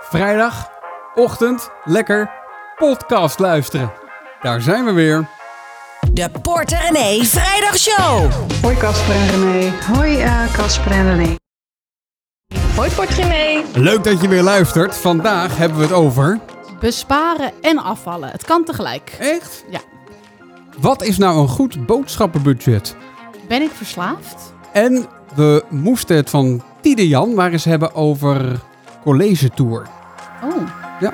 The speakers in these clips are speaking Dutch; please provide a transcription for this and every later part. Vrijdag, ochtend, lekker podcast luisteren. Daar zijn we weer. De Porter René Vrijdagshow. Hoi Casper en René. Hoi Casper en René. Hoi Portrimee. Leuk dat je weer luistert. Vandaag hebben we het over. Besparen en afvallen. Het kan tegelijk. Echt? Ja. Wat is nou een goed boodschappenbudget? Ben ik verslaafd? En we moesten het van Tide Jan maar eens hebben over college tour. Oh,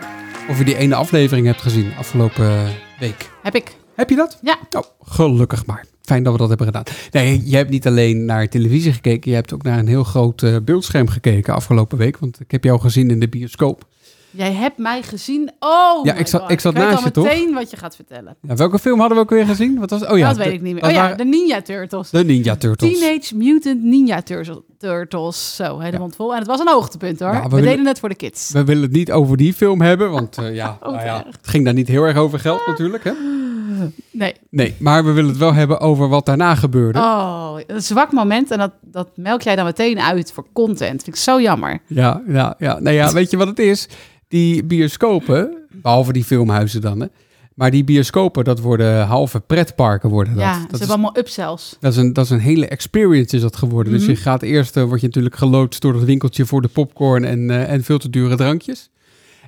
Of je die ene aflevering hebt gezien afgelopen week. heb ik. Heb je dat? Ja. Oh, gelukkig maar. Fijn dat we dat hebben gedaan. Nee, je hebt niet alleen naar televisie gekeken, je hebt ook naar een heel groot eh, beeldscherm gekeken afgelopen week. Want ik heb jou gezien in de bioscoop. Jij hebt mij gezien. Oh, Ja, my ik zat- God. ik zat weet naast je, al toch? meteen wat je gaat vertellen. Ja, welke film hadden we ook weer gezien? Wat was, oh ja, dat de- weet ik niet meer. dat Oh ja, waren de Ninja Turtles. de Ninja Turtles. Teenage Mutant Ninja Turtle- Turtles. Zo, helemaal mond vol. En het was een hoogtepunt hoor. Ja, we we willen- deden het voor de kids. We willen het niet over die film hebben, want eh, Oh, ja, nou ja, het ging daar niet heel erg over geld natuurlijk. Hè? Nee. Nee, maar we willen het wel hebben over wat daarna gebeurde. Oh, een zwak moment. En dat, dat melk jij dan meteen uit voor content. Vind ik zo jammer. Ja, ja, ja. Nou ja, weet je wat het is? Die bioscopen, behalve die filmhuizen dan, hè, maar die bioscopen, dat worden halve pretparken worden dat. ja, ze dat, hebben is, allemaal upsells. dat, is een, dat is een hele experience is dat geworden. Mhm. Dus je gaat eerst, eh, word je natuurlijk geloodst door het winkeltje voor de popcorn en, eh, en veel te dure drankjes.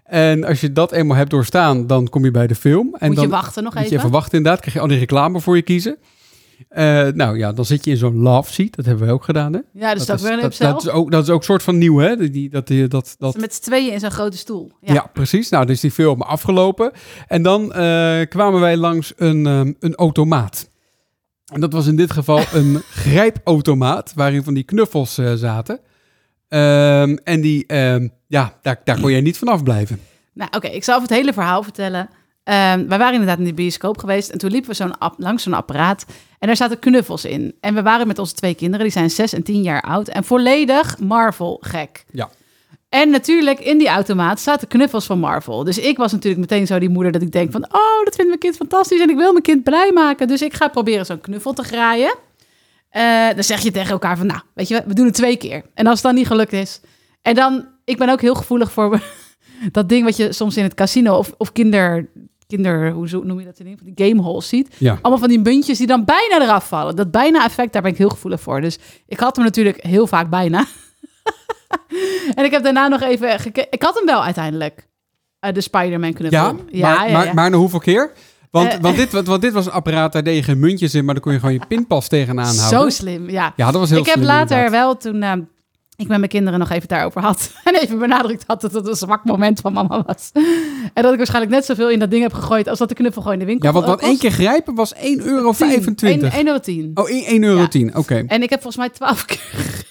En als je dat eenmaal hebt doorstaan, dan kom je bij de film. En Moet dan, je wachten nog moet even? je even wachten inderdaad. Krijg je al die reclame voor je kiezen. Eh, nou ja, dan zit je in zo'n love seat. Dat hebben we ook gedaan, hè? ja, dus dat, is ook weer een dat, upsell. dat is ook dat is ook soort van nieuw, hè? Die- Die, dat, die, dat, dat, Ze Met z'n tweeën in zo'n grote stoel. ja. precies. Nou, dus die film afgelopen. En dan eh, kwamen wij langs een, ehm, een automaat. En dat was in dit geval een grijpautomaat, waarin van die knuffels eh, zaten. Ehm, en die, ehm, ja, daar, daar kon jij niet vanaf blijven. Nou, oké, ik zal even het hele verhaal vertellen. Ehm wij waren inderdaad in de bioscoop geweest en toen liepen we zo'n app- langs zo'n apparaat en daar zaten knuffels in. En we waren met onze twee kinderen, die zijn zes en tien jaar oud en volledig Marvel gek. Ja. En natuurlijk in die automaat zaten knuffels van Marvel. Dus ik was natuurlijk meteen zo die moeder dat ik denk van, oh, dat vindt mijn kind fantastisch en ik wil mijn kind blij maken. Dus ik ga proberen zo'n knuffel te graaien. Eh, dan zeg je tegen elkaar van, nou, weet je, wat, we doen het twee keer. En als het dan niet gelukt is. En dan, ik ben ook heel gevoelig voor dat ding wat je soms in het casino of, of kinder, kinder, hoe zo- noem je dat in ieder geval, die game halls ziet. Ja. Allemaal van die muntjes die dan bijna eraf vallen. Dat bijna effect, daar ben ik heel gevoelig voor. Dus ik had hem natuurlijk heel vaak bijna. en ik heb daarna nog even gekeken. Ik had hem wel uiteindelijk. eh, de Spider-Man knuffel. Ja, maar, Maar, maar na hoeveel keer? Want, Eh. want, dit, wa- want dit was een apparaat, daar deed je geen muntjes in, maar daar kon je gewoon je pinpas tegenaan houden. Zo slim, ja. Ja, dat was heel ik heb slim later inderdaad. wel toen eh, ik met mijn kinderen nog even daarover had. En even benadrukt had dat het een zwak moment van mama was. En dat ik waarschijnlijk net zoveel in dat ding heb gegooid als dat de knuffel gewoon in de winkel Ja, want, want eh, één kost. keer grijpen was 1,25 euro. 1, 1 euro 10. Oh, 1,10 euro. Ja. Oké. En ik heb volgens mij 12 keer.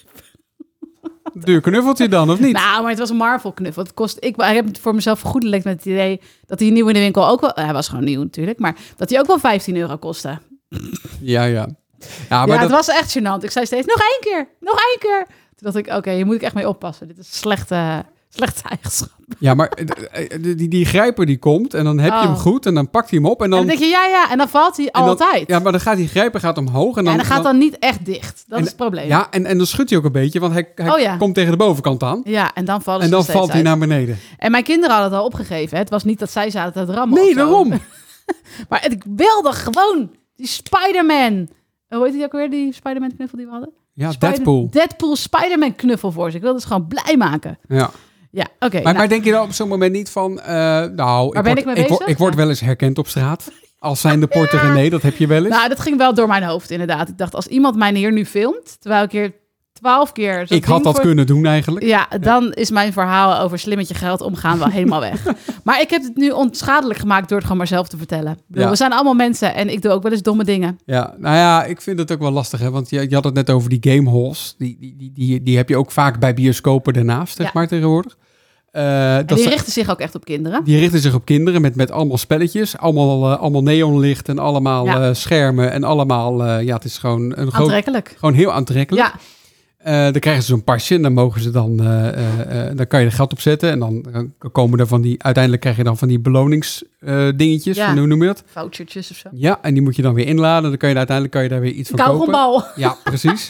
Duur knuffeltje dan, of niet? Nou, maar het was een Marvel knuffel. Het kost, ik, ik heb het voor mezelf vergoedelijkt met het idee dat hij nieuw in de winkel ook wel. Hij was gewoon nieuw natuurlijk, maar dat hij ook wel 15 euro kostte. Ja, ja. Ja, Ah, maar ja, dat, het was echt gênant. Ik zei steeds, nog één keer, nog één keer. Toen dacht ik, oké, hier moet ik echt mee oppassen. Dit is slechte, slechte eigenschap. En ja, maar eh, eh, die, die grijper die komt en dan heb je hem Oh. goed en dan pakt hij hem op en dan... dan denk je, ja, ja. En dan valt hij en dan- altijd. Ja, maar dan gaat die grijper gaat omhoog en Ja, dan... en dan gaat dan niet echt dicht. Dat en- is het probleem. Ja, en, en dan schudt hij ook een beetje, want hij, hij Oh, ja. komt tegen de bovenkant aan. Ja, en dan vallen ze En dan nog steeds valt hij uit. naar beneden. En mijn kinderen hadden het al opgegeven. Hè? Het was niet dat zij zaten te rammen. of Nee, zo. daarom. Maar het- ik wilde gewoon die Spider-Man. Eh, Hoe heet die ook weer, die Spider-Man knuffel die we hadden? Ja, Spider- Deadpool. Deadpool Spider-Man knuffel voor ze. Ik wilde ze gewoon blij maken. Ja. Ja, oké. Maar, nou, maar denk je dan op zo'n moment niet van, eh, nou, Waar ben word, ik mee ik, word, bezig? ik word Ja. wel eens herkend op straat. Als zijn de porter René, dat heb je wel eens. nou, dat ging wel door mijn hoofd inderdaad. Ik dacht, als iemand mij hier nu filmt, terwijl ik hier twaalf keer... zo'n ik had ding dat voor- kunnen doen eigenlijk. Ja, dan is mijn verhaal over slim met je geld omgaan wel helemaal weg. Maar ik heb het nu onschadelijk gemaakt door het gewoon maar zelf te vertellen. Ik bedoel, Ja. We zijn allemaal mensen en ik doe ook wel eens domme dingen. Ja, nou ja, ik vind het ook wel lastig, hè? want je, je had het net over die game halls. Die, die, die, die, die heb je ook vaak bij bioscopen daarnaast, zeg Ja. maar, tegenwoordig. Eh, En dat die ze- richten zich ook echt op kinderen. die richten zich op kinderen met, met allemaal spelletjes, allemaal, eh, allemaal neonlicht en allemaal Ja. eh, schermen en allemaal, eh, ja, het is gewoon een groot, Aantrekkelijk. gewoon heel aantrekkelijk. Ja, Eh, dan krijgen ze zo'n pasje en dan mogen ze dan, eh, eh, eh, dan kan je er geld op zetten en dan eh, komen er van die, uiteindelijk krijg je dan van die beloningsdingetjes, dingetjes Ja. van, hoe noem je dat? vouchertjes of zo. Ja, en die moet je dan weer inladen, dan kan je daar- uiteindelijk kan je daar weer iets van kopen. Kauwgombal. Ja, precies.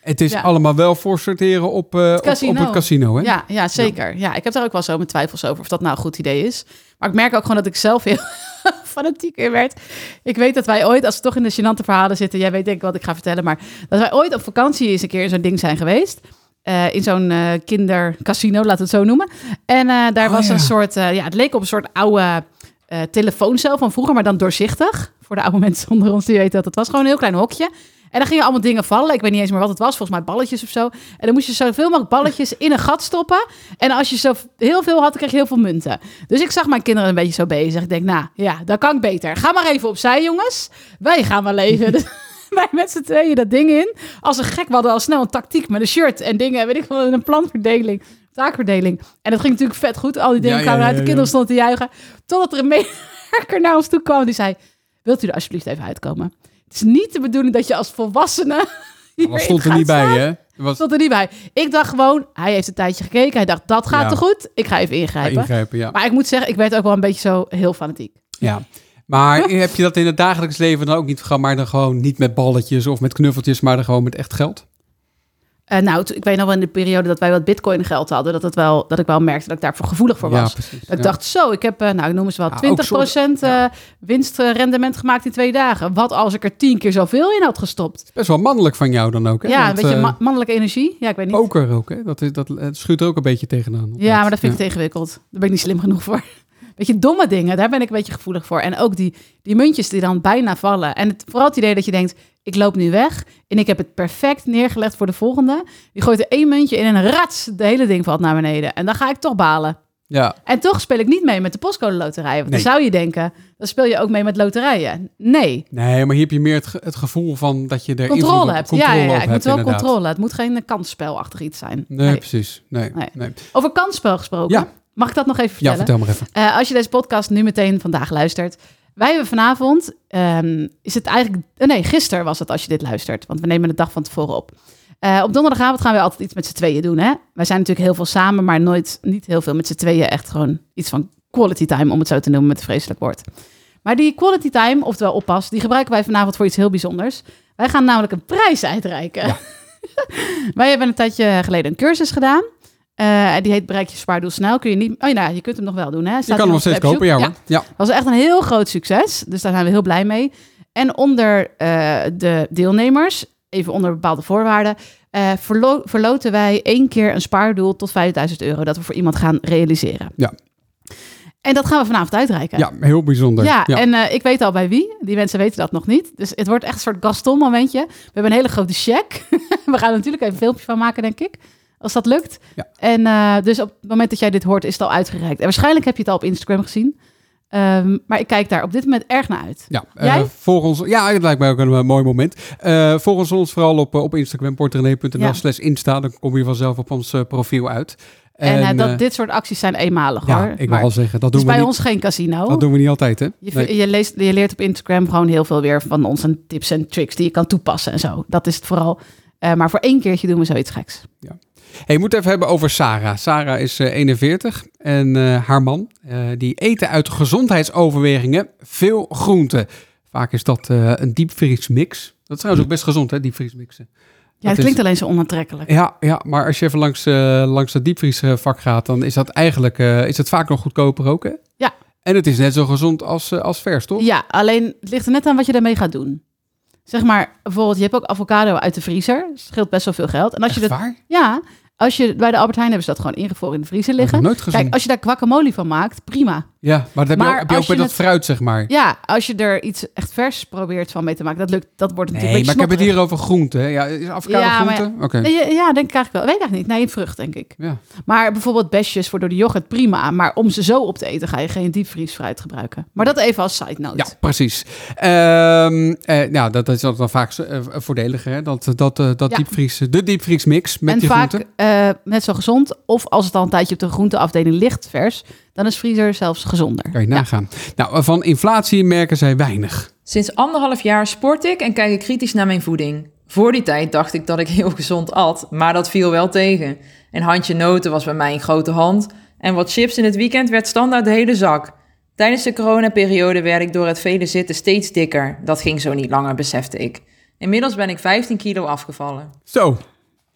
Het is Ja. allemaal wel voor sorteren op, eh, op- op, casino. het casino, hè? Ja, ja zeker. Ja. ik heb daar ook wel zo mijn twijfels over of dat nou een goed idee is. Maar ik merk ook gewoon dat ik zelf heel fanatiek in werd. Ik weet dat wij ooit, als we toch in de gênante verhalen zitten... jij weet denk ik wat ik ga vertellen... maar dat wij ooit op vakantie eens een keer in zo'n ding zijn geweest... Eh, in zo'n eh, kindercasino, laten we het zo noemen. En eh, daar Oh, was ja. een soort... eh, ja, het leek op een soort oude eh, telefooncel van vroeger... maar dan doorzichtig. Voor de oude mensen onder ons die weten dat. Het was gewoon een heel klein hokje. En dan gingen allemaal dingen vallen. Ik weet niet eens meer wat het was. Volgens mij balletjes of zo. En dan moest je zoveel mogelijk balletjes in een gat stoppen. En als je zo heel veel had, kreeg je heel veel munten. Dus ik zag mijn kinderen een beetje zo bezig. Ik denk, nou ja, dat kan ik beter. Ga maar even opzij, jongens. Wij gaan wel even. Dus wij met z'n tweeën dat ding in. Als een gek we hadden al snel een tactiek met een shirt en dingen. Weet ik veel, een planverdeling. Taakverdeling. En dat ging natuurlijk vet goed. Al die dingen Ja, ja, kwamen ja, uit. De ja. kinderen stonden te juichen. Totdat er een medewerker naar ons toe kwam. Die zei, wilt u er alsjeblieft even uitkomen? Het is niet de bedoeling dat je als volwassene... Dat hierin stond er gaat niet bij, staan." hè? Er Was stond er niet bij. Ik dacht gewoon, hij heeft een tijdje gekeken. Hij dacht, dat gaat Ja. te goed. Ik ga even ingrijpen. ingrijpen, ja. Maar ik moet zeggen, ik werd ook wel een beetje zo heel fanatiek. ja. Maar heb je dat in het dagelijks leven dan ook niet gehad, maar dan gewoon niet met balletjes of met knuffeltjes, maar dan gewoon met echt geld? Eh, nou, toen- ik weet nog wel in de periode dat wij wat bitcoin geld hadden, dat, het wel, dat ik wel merkte dat ik daarvoor gevoelig voor ja, was. precies. Dat ik ja. dacht, zo, ik heb, eh, nou, ik noem eens wel Ja, ook 20% eh winstrendement gemaakt in twee dagen. Wat als ik er tien keer zoveel in had gestopt? Best wel mannelijk van jou dan ook, hè? ja, een Want, beetje eh, ma- mannelijke energie. Ja, ik weet niet. Poker ook, hè? Dat, is, dat eh, schuurt er ook een beetje tegenaan. Ja, maar dat vind ik te ingewikkeld. Daar ben ik niet slim genoeg voor. Beetje domme dingen, daar ben ik een beetje gevoelig voor. En ook die, die muntjes die dan bijna vallen. En het, vooral het idee dat je denkt, ik loop nu weg en ik heb het perfect neergelegd voor de volgende. Je gooit er één muntje in en rats, de hele ding valt naar beneden. En dan ga ik toch balen. Ja, En toch speel ik niet mee met de postcode loterij. Want Nee. dan zou je denken, dan speel je ook mee met loterijen. Nee, nee, maar hier heb je meer het, ge- het gevoel van dat je er invloed op- controle hebt. controle ja, ja, op ja. ik hebt, moet wel inderdaad. controle. Het moet geen eh, kansspelachtig iets zijn. Nee, Nee. precies. Nee, nee. Nee. Over kansspel gesproken, Ja. mag ik dat nog even Ja, vertellen? vertel maar even. Eh, als je deze podcast nu meteen vandaag luistert. Wij hebben vanavond, ehm, is het eigenlijk, eh, nee, gisteren was het als je dit luistert. Want we nemen de dag van tevoren op. Eh, op donderdagavond gaan we altijd iets met z'n tweeën doen. Hè? Wij zijn natuurlijk heel veel samen, maar nooit, niet heel veel met z'n tweeën. Echt gewoon iets van quality time, om het zo te noemen met een vreselijk woord. Maar die quality time, oftewel oppas, die gebruiken wij vanavond voor iets heel bijzonders. Wij gaan namelijk een prijs uitreiken. wij hebben een tijdje geleden een cursus gedaan. Eh, die heet Bereik je zwaar doel snel. Kun je niet... Oh ja, je kunt hem nog wel doen. Hè? Staat Je kan hier hem nog op steeds Webshop. kopen, ja hoor. Ja. Dat was echt een heel groot succes. Dus daar zijn we heel blij mee. En onder eh, de deelnemers, even onder bepaalde voorwaarden, eh, verlo- verloten wij één keer een spaardoel tot 5000 euro dat we voor iemand gaan realiseren. Ja. En dat gaan we vanavond uitreiken. Ja, heel bijzonder. Ja, en eh, ik weet al bij wie. Die mensen weten dat nog niet. Dus het wordt echt een soort Gaston-momentje. We hebben een hele grote check. We gaan er natuurlijk even een filmpje van maken, denk ik. Als dat lukt. Ja. En eh, dus op het moment dat jij dit hoort, is het al uitgereikt. En waarschijnlijk heb je het al op Instagram gezien. Ehm, maar ik kijk daar op dit moment erg naar uit. Ja, eh, Jij? volg ons, ja, het lijkt mij ook een eh, mooi moment. Eh volg ons, ons vooral op, eh, op Instagram, portrené.nl Ja. slash Insta. Dan kom je vanzelf op ons eh, profiel uit. En, eh, dat, eh, dit soort acties zijn eenmalig ja, hoor. ik Maar wil al zeggen, dat het doen, we is bij niet, ons geen casino. dat doen we niet altijd, hè? Je, Nee. je, leest, je leert op Instagram gewoon heel veel weer van ons en tips en tricks die je kan toepassen en zo. Dat is het vooral. Eh, maar voor één keertje doen we zoiets geks. Hey, we moeten even hebben over Sarah. Sarah is eh, 41 en eh, haar man, eh, die eten uit gezondheidsoverwegingen veel groenten. Vaak is dat eh, een diepvriesmix. Dat is trouwens ook best gezond, hè, diepvriesmixen. Ja, Dat het is- klinkt alleen zo onaantrekkelijk. Ja, ja, maar als je even langs, eh langs dat diepvriesvak gaat, dan is dat eigenlijk eh, is het vaak nog goedkoper ook, hè? Ja. En het is net zo gezond als, eh, als vers, toch? Ja, alleen het ligt er net aan wat je daarmee gaat doen. Zeg maar, bijvoorbeeld, je hebt ook avocado uit de vriezer. Scheelt best wel veel geld. En als je Echt dat, waar? ja, als je bij de Albert Heijn hebben ze dat gewoon ingevroren in de vriezer Dat heb ik liggen. nooit gezien. Kijk, als je daar guacamole van maakt, prima. Ja, maar dat heb je Maar ook, heb je als ook bij je dat het- fruit, zeg maar. Ja, als je er iets echt vers probeert van mee te maken, dat lukt. Dat wordt nee, natuurlijk maar een ik heb beetje het hier over groenten, hè? Ja, is avocado Ja, maar ja. groente? Oké. snotterig. Ja, ja, denk ik eigenlijk wel. Weet ik eigenlijk niet. Nee, vrucht, denk ik. Ja. Maar bijvoorbeeld besjes voor door de yoghurt, prima. Maar om ze zo op te eten, ga je geen diepvriesfruit gebruiken. Maar dat even als side note. Ja, precies. Ehm, eh, nou, dat, dat is dan vaak eh, voordeliger, hè? Dat, dat, eh, dat Ja. diepvries, de diepvriesmix met en die vaak groenten. eh, net zo gezond. Of als het al een tijdje op de groenteafdeling ligt vers, dan is vriezer zelfs gezonder. Kan je Ja. nagaan. Nou, van inflatie merken zij weinig. Sinds anderhalf jaar sport ik en kijk ik kritisch naar mijn voeding. Voor die tijd dacht ik dat ik heel gezond at, maar dat viel wel tegen. Een handje noten was bij mij een grote hand en wat chips in het weekend werd standaard de hele zak. Tijdens de coronaperiode werd ik door het vele zitten steeds dikker. Dat ging zo niet langer, besefte ik. Inmiddels ben ik 15 kilo afgevallen. Zo,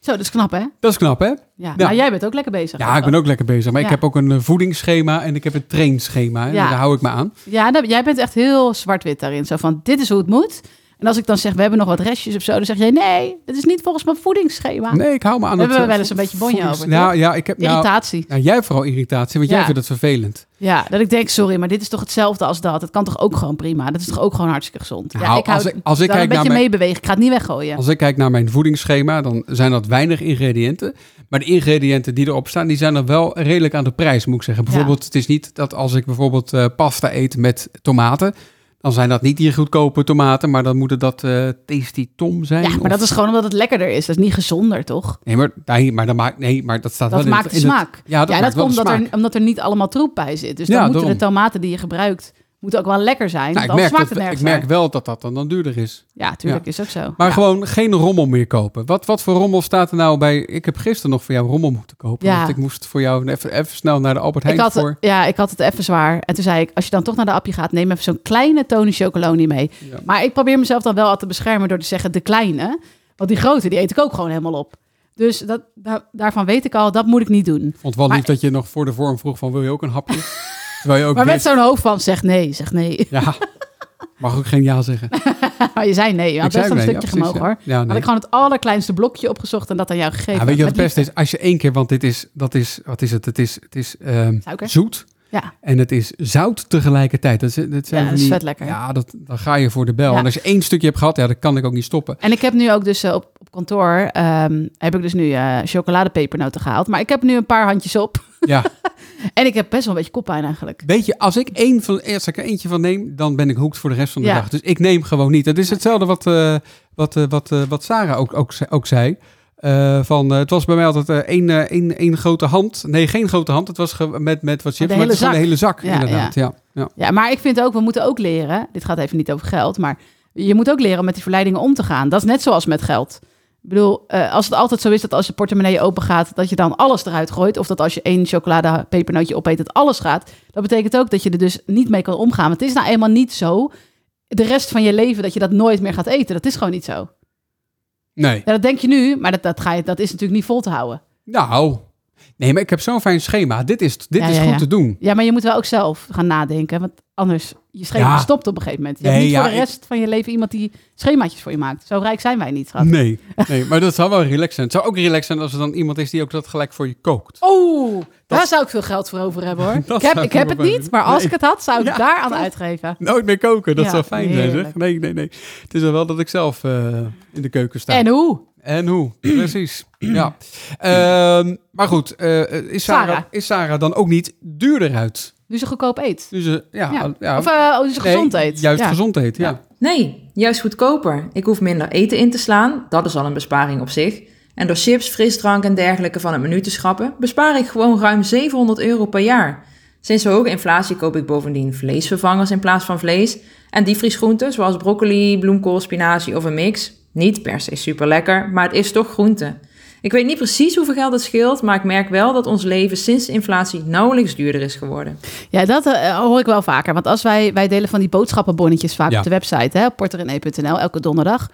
Zo, dat is knap, hè? Dat is knap, hè? Ja. Maar jij bent ook lekker bezig. Ja, ik ben ook lekker bezig. Maar ik Ja. heb ook een eh, voedingsschema en ik heb een trainschema. En Ja. daar hou ik me aan. Ja, dat- jij bent echt heel zwart-wit daarin. Zo van, dit is hoe het moet. En als ik dan zeg, we hebben nog wat restjes of zo, dan zeg jij, nee, dat is niet volgens mijn voedingsschema. Nee, ik hou me aan Daar het... hebben we eh, wel eens een beetje bonje voedings- over. Ja, toch? ja, ik heb... Nou, Irritatie. ja, jij hebt vooral irritatie, want jij Ja. vindt het vervelend. Ja, dat ik denk, sorry, maar dit is toch hetzelfde als dat? Het kan toch ook gewoon prima? Dat is toch ook gewoon hartstikke gezond? ja, Nou, ik hou als ik- als ik daar kijk een beetje naar mijn- mee bewegen. Ik ga het niet weggooien. Als ik kijk naar mijn voedingsschema, dan zijn dat weinig ingrediënten. Maar de ingrediënten die erop staan, die zijn dan wel redelijk aan de prijs, moet ik zeggen. Bijvoorbeeld, het is niet dat als ik bijvoorbeeld eh, pasta eet met tomaten, dan zijn dat niet die goedkope tomaten, maar dan moeten dat eh, tasty tom zijn. ja, maar of- dat is gewoon omdat het lekkerder is. Dat is niet gezonder, toch? Nee, maar, nee, maar, dat, maakt, nee, maar dat staat Dat wel in het- maakt de in het- smaak. ja, dat ja, en maakt dat wel komt de omdat smaak. er, omdat er niet allemaal troep bij zit. Dus dan Ja, moeten daarom. de tomaten die je gebruikt, moeten ook wel lekker Nou, zijn. want ik, anders merk smaakt dat, het ik nergens merk naar. wel dat dat dan, dan duurder is. Ja, tuurlijk, is ook zo. Maar Ja. gewoon geen rommel meer kopen. Wat, wat voor rommel staat er nou bij? Ik heb gisteren nog voor jou rommel moeten kopen. Ja. Want ik moest voor jou even, even snel naar de Albert Heijn ik had, voor. Ja, ik had het even zwaar. En toen zei ik, als je dan toch naar de appje gaat, neem even zo'n kleine Tony Chocoloni mee. Ja. Maar ik probeer mezelf dan wel altijd te beschermen door te zeggen de kleine. Want die grote, die eet ik ook gewoon helemaal op. Dus dat, daar- daarvan weet ik al, dat moet ik niet doen. Vond wel Maar- lief dat je nog voor de vorm vroeg van wil je ook een hapje? Terwijl je ook Maar met weet- zo'n hoofd van, zeg nee, zeg nee. Ja, mag ook geen ja zeggen. Maar je zei nee, je zei had Nou best wel een nee, ja, stukje precies, gemogen ja. hoor. Ja, nee. Had ik gewoon het allerkleinste blokje opgezocht en dat aan jou gegeven. Ja, weet je wat Met het beste is? Als je één keer, want dit is, dat is, wat is het? Het is, het is ehm, Suiker? zoet Ja, en het is zout tegelijkertijd. Dat, is- dat zijn Ja, van dat is die- vet lekker. Ja, dat, dan ga je voor de bel. Ja. En als je één stukje hebt gehad, ja, dat kan ik ook niet stoppen. En ik heb nu ook dus eh, op, op kantoor, ehm, heb ik dus nu eh chocoladepepernoten gehaald. Maar ik heb nu een paar handjes op. Ja, En ik heb best wel een beetje koppijn eigenlijk. weet je, als ik, één van, als ik er eentje van neem, dan ben ik hoekt voor de rest van de Ja. dag. Dus ik neem gewoon niet. Dat is hetzelfde wat, eh, wat, eh, wat, eh, wat Sarah ook, ook, ze- ook zei. Eh, van, eh, het was bij mij altijd eh, één, eh, één, één grote hand. Nee, geen grote hand. Het was ge- met, met wat chips, Oh, de maar het is hele gewoon de hele zak. Ja, inderdaad, ja. Ja. Ja, maar ik vind ook, we moeten ook leren. Dit gaat even niet over geld, maar je moet ook leren om met die verleidingen om te gaan. Dat is net zoals met geld. Ik bedoel, eh, als het altijd zo is dat als je portemonnee open gaat, dat je dan alles eruit gooit. Of dat als je één chocoladepepernootje opeet, dat alles gaat. Dat betekent ook dat je er dus niet mee kan omgaan. Want het is nou eenmaal niet zo de rest van je leven dat je dat nooit meer gaat eten. Dat is gewoon niet zo. Nee, Ja, dat denk je nu, maar dat, dat, ga je, dat is natuurlijk niet vol te houden. nou. Nee, maar ik heb zo'n fijn schema. Dit is, dit Ja, is ja, goed ja. te doen. Ja, maar je moet wel ook zelf gaan nadenken. Want anders, je schema Ja. stopt op een gegeven moment. Je Nee, hebt niet ja, voor de ik- rest van je leven iemand die schemaatjes voor je maakt. Zo rijk zijn wij niet, schat. Nee, nee, maar dat zou wel relaxed zijn. Het zou ook relaxed zijn als er dan iemand is die ook dat gelijk voor je kookt. Oh, daar zou ik veel geld voor over hebben, hoor. Dat Ik heb, zou ik heb ik het wel niet, maar als Nee. ik het had, zou ik Ja, daar aan toch? uitgeven. Nooit meer koken, dat Ja, zou fijn zijn, zeg. heerlijk. Nee, nee, nee. Het is dan wel dat ik zelf eh, in de keuken sta. En hoe? En hoe? Precies. ja. Ehm, maar goed, eh, is, Sarah, Sarah. is Sarah dan ook niet duurder uit? Nu ze goedkoop eet. Dus eh, ja, Ja. al- ja. Of eh, nu ze Nee, gezond eet. Juist Ja. gezondheid, ja. Nee, juist goedkoper. Ik hoef minder eten in te slaan, dat is al een besparing op zich. En door chips, frisdrank en dergelijke van het menu te schrappen, bespaar ik gewoon ruim 700 euro per jaar. Sinds de hoge inflatie koop ik bovendien vleesvervangers in plaats van vlees en diepvriesgroenten zoals broccoli, bloemkool, spinazie of een mix. Niet per se super lekker, maar het is toch groente. Ik weet niet precies hoeveel geld het scheelt, maar ik merk wel dat ons leven sinds de inflatie nauwelijks duurder is geworden. Ja, dat eh, hoor ik wel vaker. Want als wij, wij delen van die boodschappenbonnetjes vaak Ja. op de website, hè, op porterenee.nl, elke donderdag.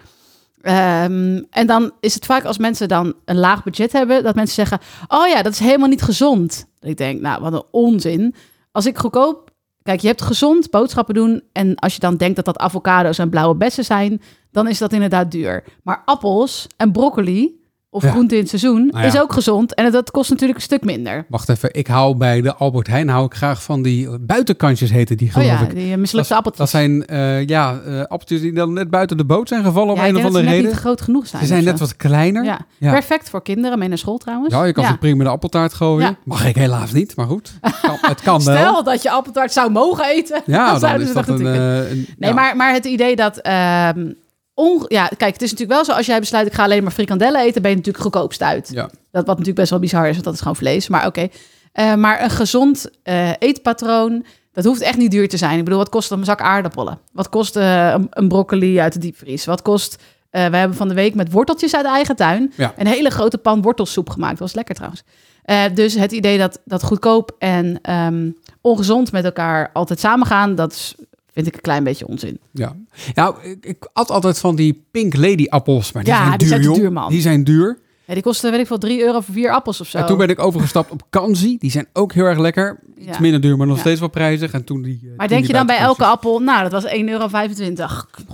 Ehm, en dan is het vaak als mensen dan een laag budget hebben, dat mensen zeggen: Oh ja, dat is helemaal niet gezond. Dat Ik denk, nou, wat een onzin. Als ik goedkoop. Kijk, je hebt gezond boodschappen doen. En als je dan denkt dat dat avocado's en blauwe bessen zijn, dan is dat inderdaad duur. Maar appels en broccoli of Ja. groente in het seizoen Nou ja. is ook gezond. En dat kost natuurlijk een stuk minder. Wacht even, ik hou bij de Albert Heijn hou ik graag van die buitenkantjes heten die Oh geloof ja, ik. die eh, mislukte dat, dat appeltjes. zijn eh, ja, eh, appeltjes die dan net buiten de boot zijn gevallen om ik een of denk dat andere ze net reden. niet groot genoeg zijn. Ze zijn of zo. net wat kleiner. Ja. Ja. Perfect voor kinderen, mee naar school trouwens. Ja, Nou, je kan ze prima in de appeltaart gooien. Ja. Mag ik helaas niet, maar goed. Het kan, het kan wel. Stel dat je appeltaart zou mogen eten. Ja, dan dan zouden is ze dat dat een... natuurlijk. eh, een- nee, ja. maar, maar het idee dat. ehm, onge- ja, kijk, het is natuurlijk wel zo. Als jij besluit, ik ga alleen maar frikandellen eten, ben je natuurlijk goedkoopst uit. Ja. Dat wat natuurlijk best wel bizar is, want dat is gewoon vlees. Maar oké. Eh, maar een gezond eh, eetpatroon, dat hoeft echt niet duur te zijn. Ik bedoel, wat kost een zak aardappelen? Wat kost eh, een, een broccoli uit de diepvries? Wat kost... eh, we hebben van de week met worteltjes uit eigen tuin... Ja. een hele grote pan wortelsoep gemaakt. Dat was lekker trouwens. Eh, dus het idee dat, dat goedkoop en ehm, ongezond met elkaar altijd samengaan... dat is, vind ik een klein beetje onzin. Ja. Nou, ik, ik at altijd van die Pink Lady appels, maar die Ja, zijn duur, die zijn te joh. duur, man. Die zijn duur. Ja, die kostte, weet ik veel, 3 euro voor vier appels of zo. En toen ben ik overgestapt op kanzi. Die zijn ook heel erg lekker. Iets Ja. minder duur, maar nog Ja. steeds wel prijzig. En toen die, eh, maar toen denk je die dan bij elke buitenkoopjes. appel, nou, dat was 1,25 euro.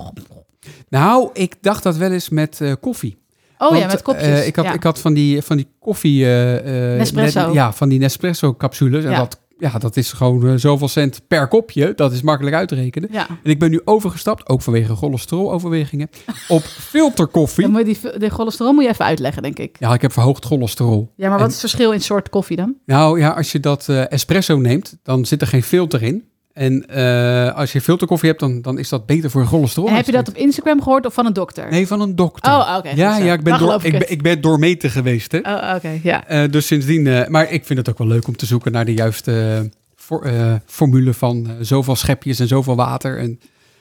Nou, ik dacht dat wel eens met eh, koffie. Oh ja, Want, met kopjes. eh, ik, had, ja. ik had van die, van die koffie... eh, eh, Nespresso. net- ja, van die Nespresso-capsules. En Ja. dat, ja, dat is gewoon eh, zoveel cent per kopje. Dat is makkelijk uit te rekenen. ja. En ik ben nu overgestapt, ook vanwege cholesteroloverwegingen, op filterkoffie. Dan moet je die, de cholesterol moet je even uitleggen, denk ik. Ja, ik heb verhoogd cholesterol. Ja, maar wat En- is het verschil in soort koffie dan? Nou ja, als je dat eh, espresso neemt, dan zit er geen filter in. En eh, als je filterkoffie hebt, dan, dan is dat beter voor je cholesterol. en heb je dat op Instagram gehoord of van een dokter? Nee, van een dokter. Oh, oké. goed ja, zo. ja, ik ben, Dan door, geloof ik, het. ben, ik ben doormeten geweest. Hè? Oh, oké, ja. Eh, dus sindsdien, eh, maar ik vind het ook wel leuk om te zoeken naar de juiste eh, for- eh, formule van eh, zoveel schepjes en zoveel water. En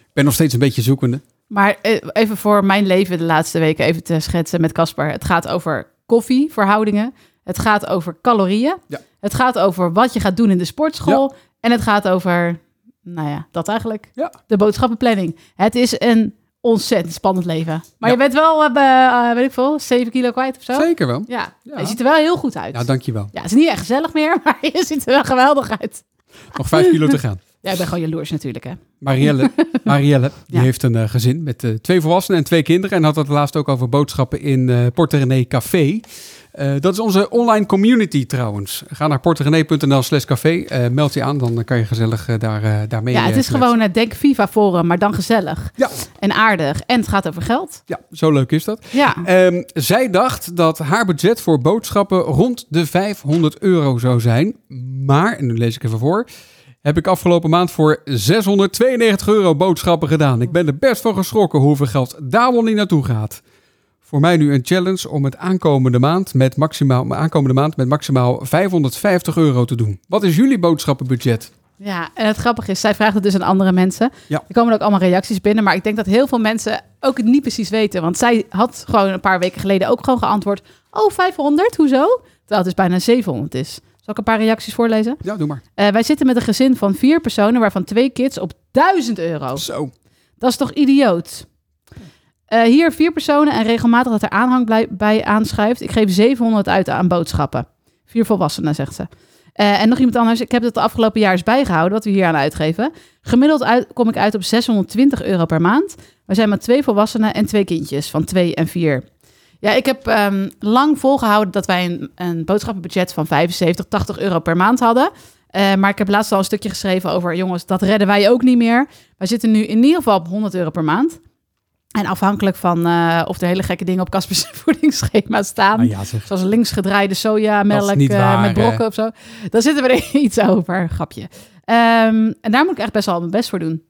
ik ben nog steeds een beetje zoekende. Maar eh, even voor mijn leven de laatste weken even te schetsen met Casper. Het gaat over koffieverhoudingen. Het gaat over calorieën. Ja. Het gaat over wat je gaat doen in de sportschool. En het gaat over, nou ja, dat eigenlijk. Ja. De boodschappenplanning. Het is een ontzettend spannend leven. Maar Ja. je bent wel, eh, bij, eh, weet ik veel, 7 kilo kwijt of zo. Zeker wel. Ja. Ja. je ziet er wel heel goed uit. Ja, dankjewel. Ja, het is niet echt gezellig meer, maar je ziet er wel geweldig uit. Nog vijf kilo te gaan. Ja, ik ben gewoon jaloers natuurlijk, hè. Marielle, Marielle die Ja. heeft een eh, gezin met eh, twee volwassenen en twee kinderen. En had het laatst ook over boodschappen in eh Porte René Café. Eh, dat is onze online community trouwens. Ga naar porterené.nl slash café. eh, meld je aan, dan kan je gezellig eh, daar, eh daarmee. ja, het eh, is kletsen. gewoon het Denk Viva Forum, maar dan gezellig Ja, en aardig. En het gaat over geld. ja, zo leuk is dat. Ja. Ehm, zij dacht dat haar budget voor boodschappen rond de 500 euro zou zijn. Maar, en nu lees ik even voor, heb ik afgelopen maand voor 692 euro boodschappen gedaan. Ik ben er best van geschrokken hoeveel geld daar wel niet naartoe gaat. Voor mij nu een challenge om het aankomende maand met maximaal, aankomende maand met maximaal 550 euro te doen. Wat is jullie boodschappenbudget? Ja, en het grappige is, zij vraagt het dus aan andere mensen. Ja. Er komen ook allemaal reacties binnen, maar ik denk dat heel veel mensen ook het niet precies weten. Want zij had gewoon een paar weken geleden ook gewoon geantwoord, oh 500, hoezo? Terwijl het dus bijna 700 is. Zal ik een paar reacties voorlezen? Ja, doe maar. Eh, wij zitten met een gezin van vier personen, waarvan twee kids op 1000 euro. Zo. Dat is toch idioot? Eh, hier vier personen en regelmatig dat er aanhang blij- bij aanschuift. Ik geef 700 uit aan boodschappen. Vier volwassenen, zegt ze. Eh, en nog iemand anders. Ik heb het de afgelopen jaar eens bijgehouden wat we hier aan uitgeven. Gemiddeld uit, kom ik uit op 620 euro per maand. We zijn met twee volwassenen en twee kindjes van twee en vier. Ja, ik heb ehm, lang volgehouden dat wij een, een boodschappenbudget van 75, 80 euro per maand hadden. Eh, maar ik heb laatst al een stukje geschreven over, jongens, dat redden wij ook niet meer. Wij zitten nu in ieder geval op 100 euro per maand. En afhankelijk van eh, of er hele gekke dingen op Caspers voedingsschema staan. Nou ja, zeg. Zoals linksgedraaide sojamelk Dat is niet eh, waar, met brokken hè? of zo. Daar zitten we er iets over, grapje. Ehm, en daar moet ik echt best wel mijn best voor doen,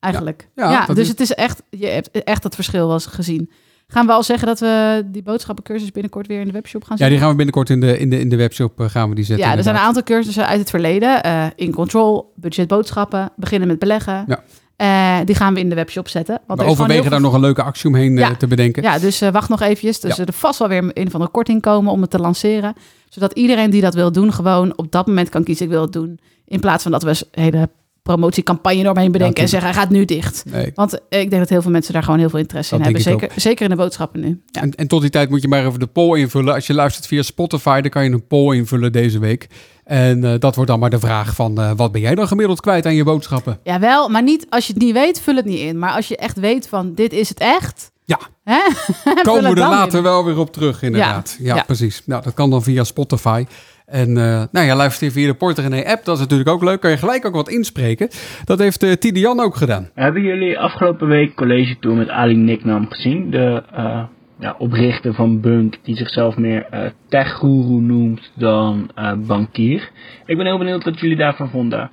eigenlijk. Ja, Ja, ja, dat dus is- het is echt, je hebt echt dat verschil wel eens gezien. Gaan we al zeggen dat we die boodschappencursus binnenkort weer in de webshop gaan Ja, zetten? die gaan we binnenkort in de, in de, in de webshop eh, gaan we die zetten. Ja, er zijn een inderdaad. aantal cursussen uit het verleden. eh, in control, budget boodschappen, beginnen met beleggen. Ja. Eh, die gaan we in de webshop zetten. Want We er is gewoon heel overwegen daar nog een leuke actie omheen eh, Ja. te bedenken. Ja, dus eh, wacht nog eventjes. Dus Ja. er vast wel weer een van de korting komen om het te lanceren. Zodat iedereen die dat wil doen, gewoon op dat moment kan kiezen. Ik wil het doen. In plaats van dat we een hele promotiecampagne eromheen bedenken tuurlijk. en zeggen, hij gaat nu dicht. Nee. Want eh, ik denk dat heel veel mensen daar gewoon heel veel interesse Dat in hebben. denk ik Zeker, zeker in de boodschappen nu. Ja. En, en tot die tijd moet je maar even de poll invullen. Als je luistert via Spotify, dan kan je een poll invullen deze week. En eh, dat wordt dan maar de vraag van, eh, wat ben jij dan gemiddeld kwijt aan je boodschappen? Jawel, maar niet als je het niet weet, vul het niet in. Maar als je echt weet van dit is het echt. Ja. Hè? Vul Komen het we er dan later in. wel weer op terug, inderdaad. Ja, Ja, ja. precies. Nou, dat kan dan via Spotify. En eh, nou ja, luister je via de Porter René app, dat is natuurlijk ook leuk. Kan je gelijk ook wat inspreken. Dat heeft eh Tidian ook gedaan. Hebben jullie afgelopen week college tour met Ali Nicknam gezien? De eh, ja, oprichter van Bunk, die zichzelf meer eh tech-guru noemt dan eh, bankier. Ik ben heel benieuwd wat jullie daarvan vonden.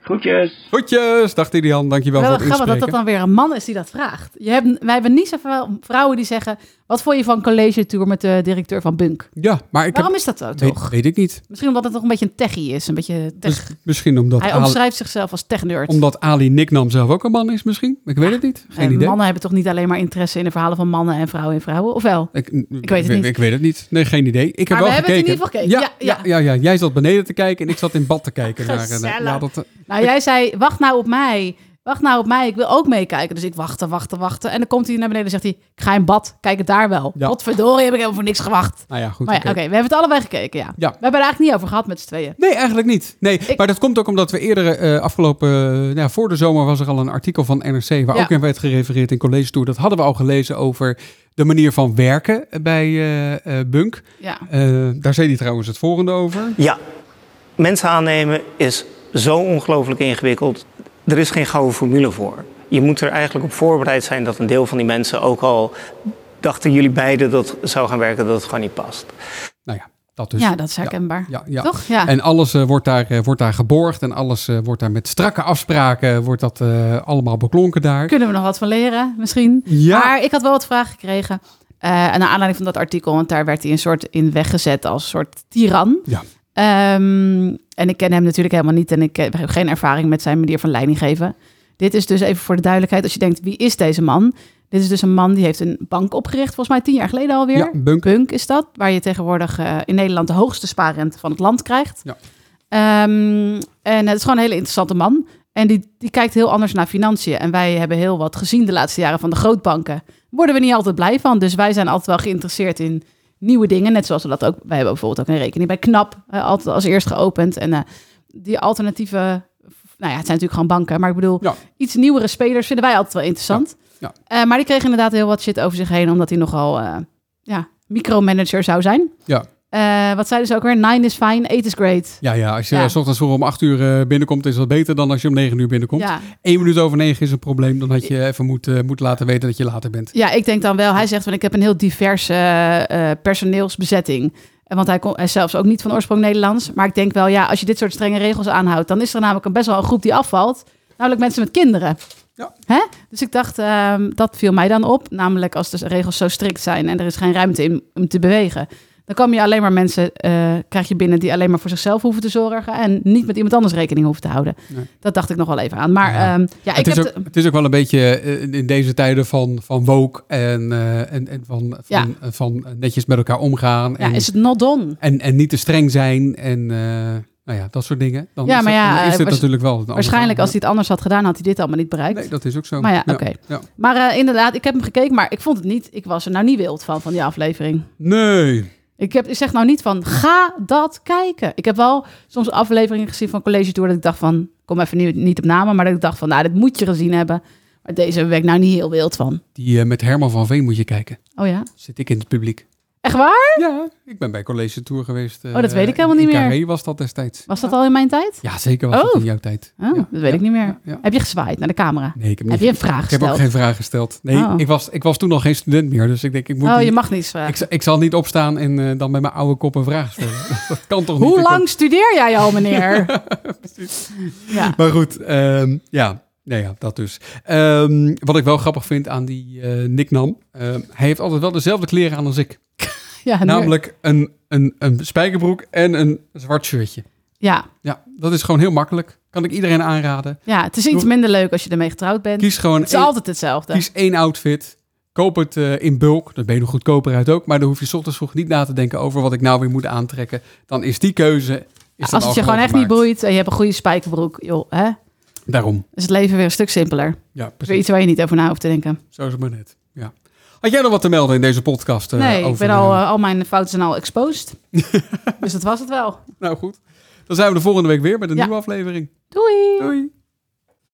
Groetjes! Groetjes, dag Tidian. Dankjewel Wel voor het grappig dat inspreken. dat dan weer een man is die dat vraagt. Je hebt, wij hebben niet zoveel vrouwen die zeggen... wat vond je van college tour met de directeur van Bunk? Ja, maar ik Waarom heb... is dat zo, toch? Weet, weet ik niet. Misschien omdat het toch een beetje een techie is. Een beetje tech. Dus misschien omdat Hij Ali, omschrijft zichzelf als tech-nerd. omdat Ali Nicknam zelf ook een man is misschien. Ik weet het niet. Geen En idee. Mannen hebben toch niet alleen maar interesse in de verhalen van mannen en vrouwen en vrouwen? Of wel? Ik, mm, ik weet het niet. Ik weet het niet. Nee, geen idee. Ik heb Maar wel we hebben het gekeken. in ieder geval gekeken. Ja, ja, ja, ja. Jij zat beneden te kijken en ik zat in bad te kijken. naar, eh, Gezellig. ja, dat, eh, Nou, jij zei, wacht nou op mij. wacht nou op mij, ik wil ook meekijken. Dus ik wachtte, wachtte, wachtte. En dan komt hij naar beneden en zegt hij, ik ga in bad, kijk het daar wel. Ja. Godverdorie, heb ik helemaal voor niks gewacht. Nou ja, goed. Maar ja, oké, oké. we hebben het allebei gekeken, ja. We hebben het er eigenlijk niet over gehad met z'n tweeën. Nee, eigenlijk niet. Nee, Ik- maar dat komt ook omdat we eerder eh, afgelopen... eh, ja, voor de zomer was er al een artikel van NRC... waar Ja. ook in werd gerefereerd in College Tour. Dat hadden we al gelezen over de manier van werken bij eh, eh, Bunk. Ja. Eh, daar zei hij trouwens het volgende over. Ja, mensen aannemen is zo ongelooflijk ingewikkeld. Er is geen gouden formule voor. Je moet er eigenlijk op voorbereid zijn dat een deel van die mensen ook al dachten jullie beiden dat het zou gaan werken dat het gewoon niet past. Nou ja, dat dus. ja, dat is herkenbaar. Ja, ja. Toch? Ja. En alles eh, wordt, daar, eh, wordt daar geborgd en alles eh, wordt daar met strakke afspraken, wordt dat eh, allemaal beklonken daar. Kunnen we nog wat van leren, misschien? Ja. Maar ik had wel wat vragen gekregen. eh naar aanleiding van dat artikel, want daar werd hij een soort in weggezet als een soort tiran. Ja. Ehm, en ik ken hem natuurlijk helemaal niet en ik heb geen ervaring met zijn manier van leiding geven. Dit is dus even voor de duidelijkheid, als je denkt, wie is deze man? Dit is dus een man die heeft een bank opgericht, volgens mij tien jaar geleden alweer. Ja, Bunk. is dat, waar je tegenwoordig eh, in Nederland de hoogste spaarrente van het land krijgt. Ja. Ehm, en het is gewoon een hele interessante man. En die, die kijkt heel anders naar financiën. En wij hebben heel wat gezien de laatste jaren van de grootbanken. Worden we niet altijd blij van. Dus wij zijn altijd wel geïnteresseerd in nieuwe dingen. Net zoals we dat ook. Wij hebben bijvoorbeeld ook een rekening bij KNAP. eh, altijd als eerst geopend. En eh, die alternatieve. Nou ja, het zijn natuurlijk gewoon banken. Maar ik bedoel, Ja. iets nieuwere spelers vinden wij altijd wel interessant. Ja, Eh, maar die kreeg inderdaad heel wat shit over zich heen. Omdat hij nogal eh ja, micromanager zou zijn. Ja, Eh, wat zeiden ze ook weer? Nine is fine, eight is great. ja, ja als je Ja. s ochtends vroeg om acht uur eh, binnenkomt, is dat beter dan als je om negen uur binnenkomt. Ja. Eén minuut over negen is een probleem, dan had je even moet, eh, moet laten weten dat je later bent. Ja, ik denk dan wel. Hij zegt, van ik heb een heel diverse eh, eh, personeelsbezetting. En Want hij, kon, hij is zelfs ook niet van oorsprong Nederlands. Maar ik denk wel, ja, als je dit soort strenge regels aanhoudt... dan is er namelijk een best wel een groep die afvalt. Namelijk mensen met kinderen. Ja. Hè? Dus ik dacht, ehm, dat viel mij dan op. Namelijk als de regels zo strikt zijn en er is geen ruimte in om te bewegen. Dan kom je alleen maar mensen, eh, krijg je binnen die alleen maar voor zichzelf hoeven te zorgen. En niet met iemand anders rekening hoeven te houden. Nee. Dat dacht ik nog wel even aan. Maar Ja. ja, ja ik het, is heb ook, het is ook wel een beetje eh, in deze tijden van, van woke en, eh, en, en van, van, Ja. eh, van netjes met elkaar omgaan de- ja, en, is het not done? en, en niet te streng zijn en eh, nou ja, dat soort dingen. Dan Ja, is, maar dat- ja, dan eh, is dit waars- natuurlijk wel een ander Waarschijnlijk verhaal. als hij het anders had gedaan, had hij dit allemaal niet bereikt. Nou, Nee, dat is ook zo. Maar ja, oké. ja. Maar eh, inderdaad, ik heb hem gekeken, maar ik vond het niet. Ik was er nou niet wild van, van die aflevering. Nee. Ik, heb, ik zeg nou niet van, ga dat kijken. Ik heb wel soms afleveringen gezien van College Tour dat ik dacht van, kom even niet, niet op namen, maar dat ik dacht van, nou, dit moet je gezien hebben. Maar deze ben ik nou niet heel wild van. Die eh, met Herman van Veen moet je kijken. Oh ja? Zit ik in het publiek. Echt waar? Ja, ik ben bij College Tour geweest. eh, Oh, dat weet ik helemaal niet meer. Carré was dat destijds. Was dat al in mijn tijd? Ja, zeker was dat Oh. in jouw tijd. Oh, Ja, dat weet ik niet meer. ja, ja. Heb je gezwaaid naar de camera? Nee, ik heb, Heb niet- je een vraag Ik heb ook gesteld? geen vraag gesteld. Nee, Oh. ik, was, ik was toen al geen student meer. Dus ik denk, ik moet... Oh, je niet- mag niets vragen. ik, z- ik zal niet opstaan en eh, dan met mijn oude kop een vraag stellen. dat kan toch niet? Hoe Ik lang ook- studeer jij al, meneer? Ja. Maar goed, ehm, ja. Nou ja, dat dus. Ehm, wat ik wel grappig vind aan die eh Nick Nam. ehm, hij heeft altijd wel dezelfde kleren aan als ik. ja, nu- Namelijk een, een, een spijkerbroek en een zwart shirtje. Ja, Ja, dat is gewoon heel makkelijk. Kan ik iedereen aanraden. Ja, het is iets minder leuk als je ermee getrouwd bent. Kies gewoon het is één, altijd hetzelfde. kies één outfit. Koop het eh, in bulk. Dan ben je er goedkoper uit ook. Maar dan hoef je 's ochtends vroeg niet na te denken over wat ik nou weer moet aantrekken. Dan is die keuze. Is dan als al het je gewoon echt niet gemaakt. boeit en je hebt een goede spijkerbroek, joh, hè, Daarom. is het leven weer een stuk simpeler. Ja, Weer precies. iets waar je niet over na hoeft te denken. Zo is het maar net. Ja. Had jij nog wat te melden in deze podcast? eh, nee, ik over, ben al, eh, eh, al mijn fouten zijn al exposed. dus dat was het wel. nou goed. Dan zijn we de volgende week weer met een Ja. nieuwe aflevering. Doei! Doei.